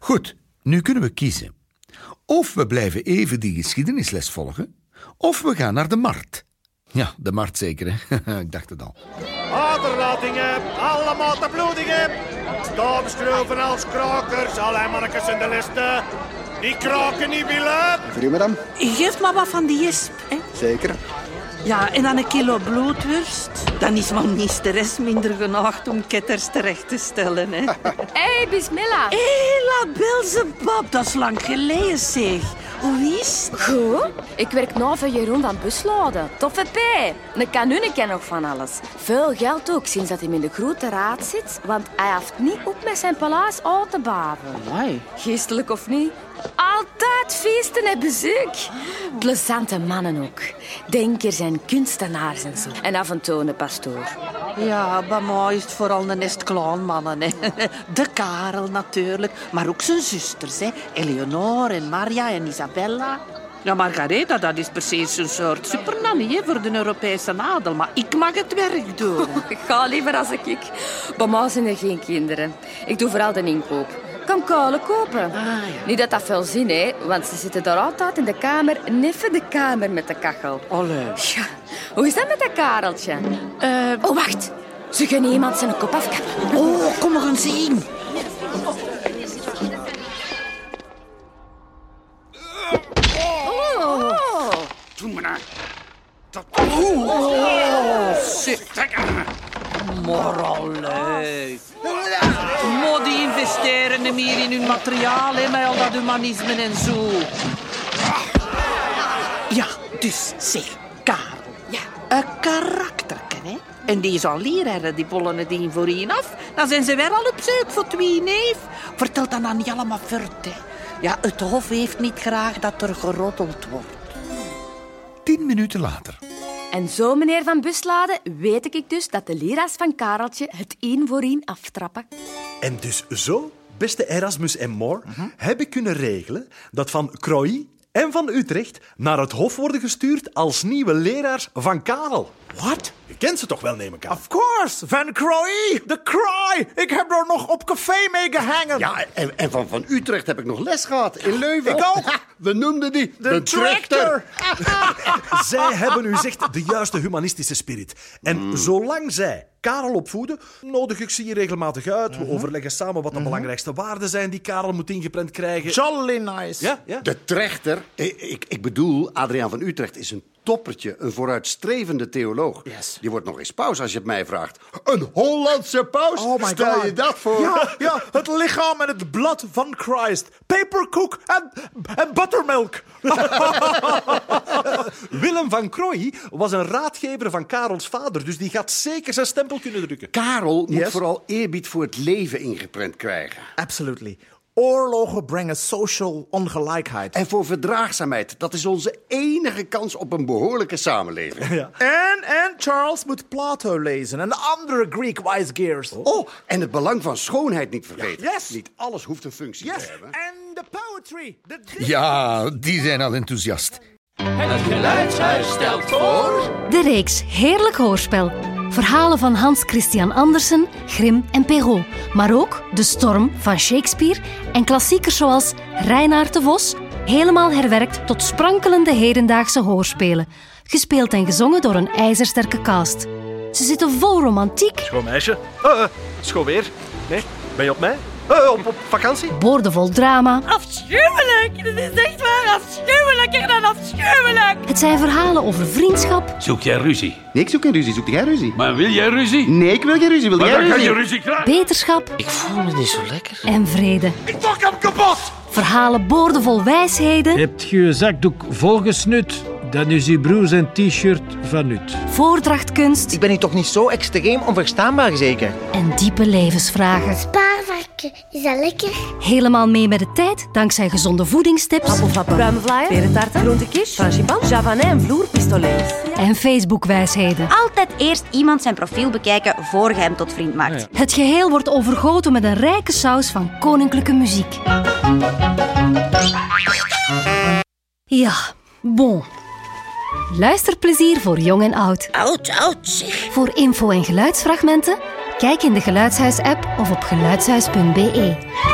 Goed, nu kunnen we kiezen. Of we blijven even die geschiedenisles volgen, of we gaan naar de markt. Ja, de markt zeker, hè? Ik dacht het al. Waterlatingen, allemaal te bloedigen. Stoomschroeven als krokers, allerlei mannetjes in de listen. Die kroken niet willen. Voor u, madame? Geef maar wat van die jesp, hè. Zeker. Ja, en dan een kilo bloedwurst. Dan is mijn meesteres minder genaagd om ketters terecht te stellen, hè. Hé, hey, Bismillah. Hé, la Belzebub, dat is lang geleden, zeg. Hoe is het? Goed. Ik werk nou voor Jeroen van Busladen. Toffe P. Een kanune ken nog van alles. Veel geld ook, sinds dat hij in de grote raad zit. Want hij heeft niet op met zijn paleis uit te baven. Geestelijk of niet. Altijd feesten en bezoek. Plezante mannen ook. Denkers en kunstenaars en zo. En af en toe een pastoor. Ja, bij mij is het vooral een nest clownmannen. Hè. De Karel natuurlijk, maar ook zijn zusters. Hè. Eleonore en Maria en Isabella. Ja, Margaretha, dat is precies een soort supernanny hè, voor de Europese adel. Maar ik mag het werk doen. Ik ga liever als ik. ik. Bij mij zijn er geen kinderen. Ik doe vooral de inkoop. Ik kan kuilen kopen. Niet dat dat veel zin heeft, want ze zitten daar altijd in de kamer. Neffen de kamer met de kachel. Allee. Ja, hoe is dat met dat kareltje? Oh, wacht. Ze gaan iemand zijn kop afkappen. Oh, kom maar eens zien. Oh. Doe maar nou. Dat... Oeh! Oh, shit. Trek aan me. Morale. Maar die investeren hem hier in hun materiaal, hè, met al dat humanisme en zo. Ja, dus zeg, Karel. Ja. Een karakterke, hè. En die zal hier herren, die bollen die voor één af. Dan zijn ze weer al op zoek voor twee neef. Vertel dat aan niet allemaal vert, hè. Ja, het hof heeft niet graag dat er geroddeld wordt. Tien minuten later. En zo, meneer Van Busladen, weet ik dus dat de leraars van Kareltje het één voor één aftrappen. En dus zo, beste Erasmus en Moore, Mhm. heb ik kunnen regelen dat van Croy en van Utrecht naar het Hof worden gestuurd als nieuwe leraars van Karel. Wat? Je kent ze toch wel, neem ik aan? Of course, Van Croy, de Croy. Ik heb er nog op café mee gehangen. Ja, en, en van, van Utrecht heb ik nog les gehad in Leuven. Ik ook. We noemden die de, trechter. Zij hebben u zegt de juiste humanistische spirit. En zolang zij Karel opvoeden, nodig ik ze hier regelmatig uit. We overleggen samen wat de belangrijkste waarden zijn die Karel moet ingeprent krijgen. Jolly nice. Ja, ja. De trechter, ik, ik, ik bedoel, Adriaan van Utrecht is een toppertje, een vooruitstrevende theoloog. Yes. Die wordt nog eens paus als je het mij vraagt. Een Hollandse paus? Oh my Stel God. je dat voor? Ja, ja, het lichaam en het blad van Christ. Papercook en, en buttermilk. Willem van Crooy was een raadgever van Karels vader, dus die gaat zeker zijn stempel kunnen drukken. Karel moet Yes. vooral eerbied voor het leven ingeprent krijgen. Absolutely. Oorlogen brengen social ongelijkheid. En voor verdraagzaamheid. Dat is onze enige kans op een behoorlijke samenleving. En, en Charles moet Plato lezen en andere Greek wisegears. Oh, en het belang van schoonheid niet vergeten. Ja, yes. Niet alles hoeft een functie te hebben. En de poetry. De Ja, die zijn al enthousiast. De reeks Heerlijk Hoorspel. Verhalen van Hans Christian Andersen, Grimm en Perrault. Maar ook De Storm van Shakespeare en klassiekers zoals Reinaard de Vos. Helemaal herwerkt tot sprankelende hedendaagse hoorspelen. Gespeeld en gezongen door een ijzersterke cast. Ze zitten vol romantiek, Schoon meisje. Eh, eh, schoon weer. Nee, ben je op mij? Eh, op, op vakantie? boordevol drama. Afschuwelijk. Dit is echt waar afschuwelijk en dan afschuwelijk. Het zijn verhalen over vriendschap, Zoek jij ruzie? Nee, ik zoek een ruzie. Zoek jij ruzie? Maar wil jij ruzie? Nee, ik wil geen ruzie. Wil Maar dan kan je ruzie krijgen. beterschap. Ik voel me niet zo lekker. En vrede. Ik pak hem kapot. Verhalen boordevol wijsheden. Hebt je je zakdoek volgesnut? Dan is je broer zijn t-shirt van nut. voordrachtkunst Ik ben hier toch niet zo extreem onverstaanbaar, zeker? en diepe levensvragen. Spaarvarken, is dat lekker? Helemaal mee met de tijd dankzij gezonde voedingstips Bruine vlaaien, perentaarten, groente kies, frangipan, javanet en vloerpistolets. en Facebookwijsheden. Altijd eerst iemand zijn profiel bekijken voor je hem tot vriend maakt. Het geheel wordt overgoten met een rijke saus van koninklijke muziek. Ja, bon. Luisterplezier voor jong en oud. Oud, oud, zeg. Voor info en geluidsfragmenten, kijk in de Geluidshuis-app of op geluidshuis.be.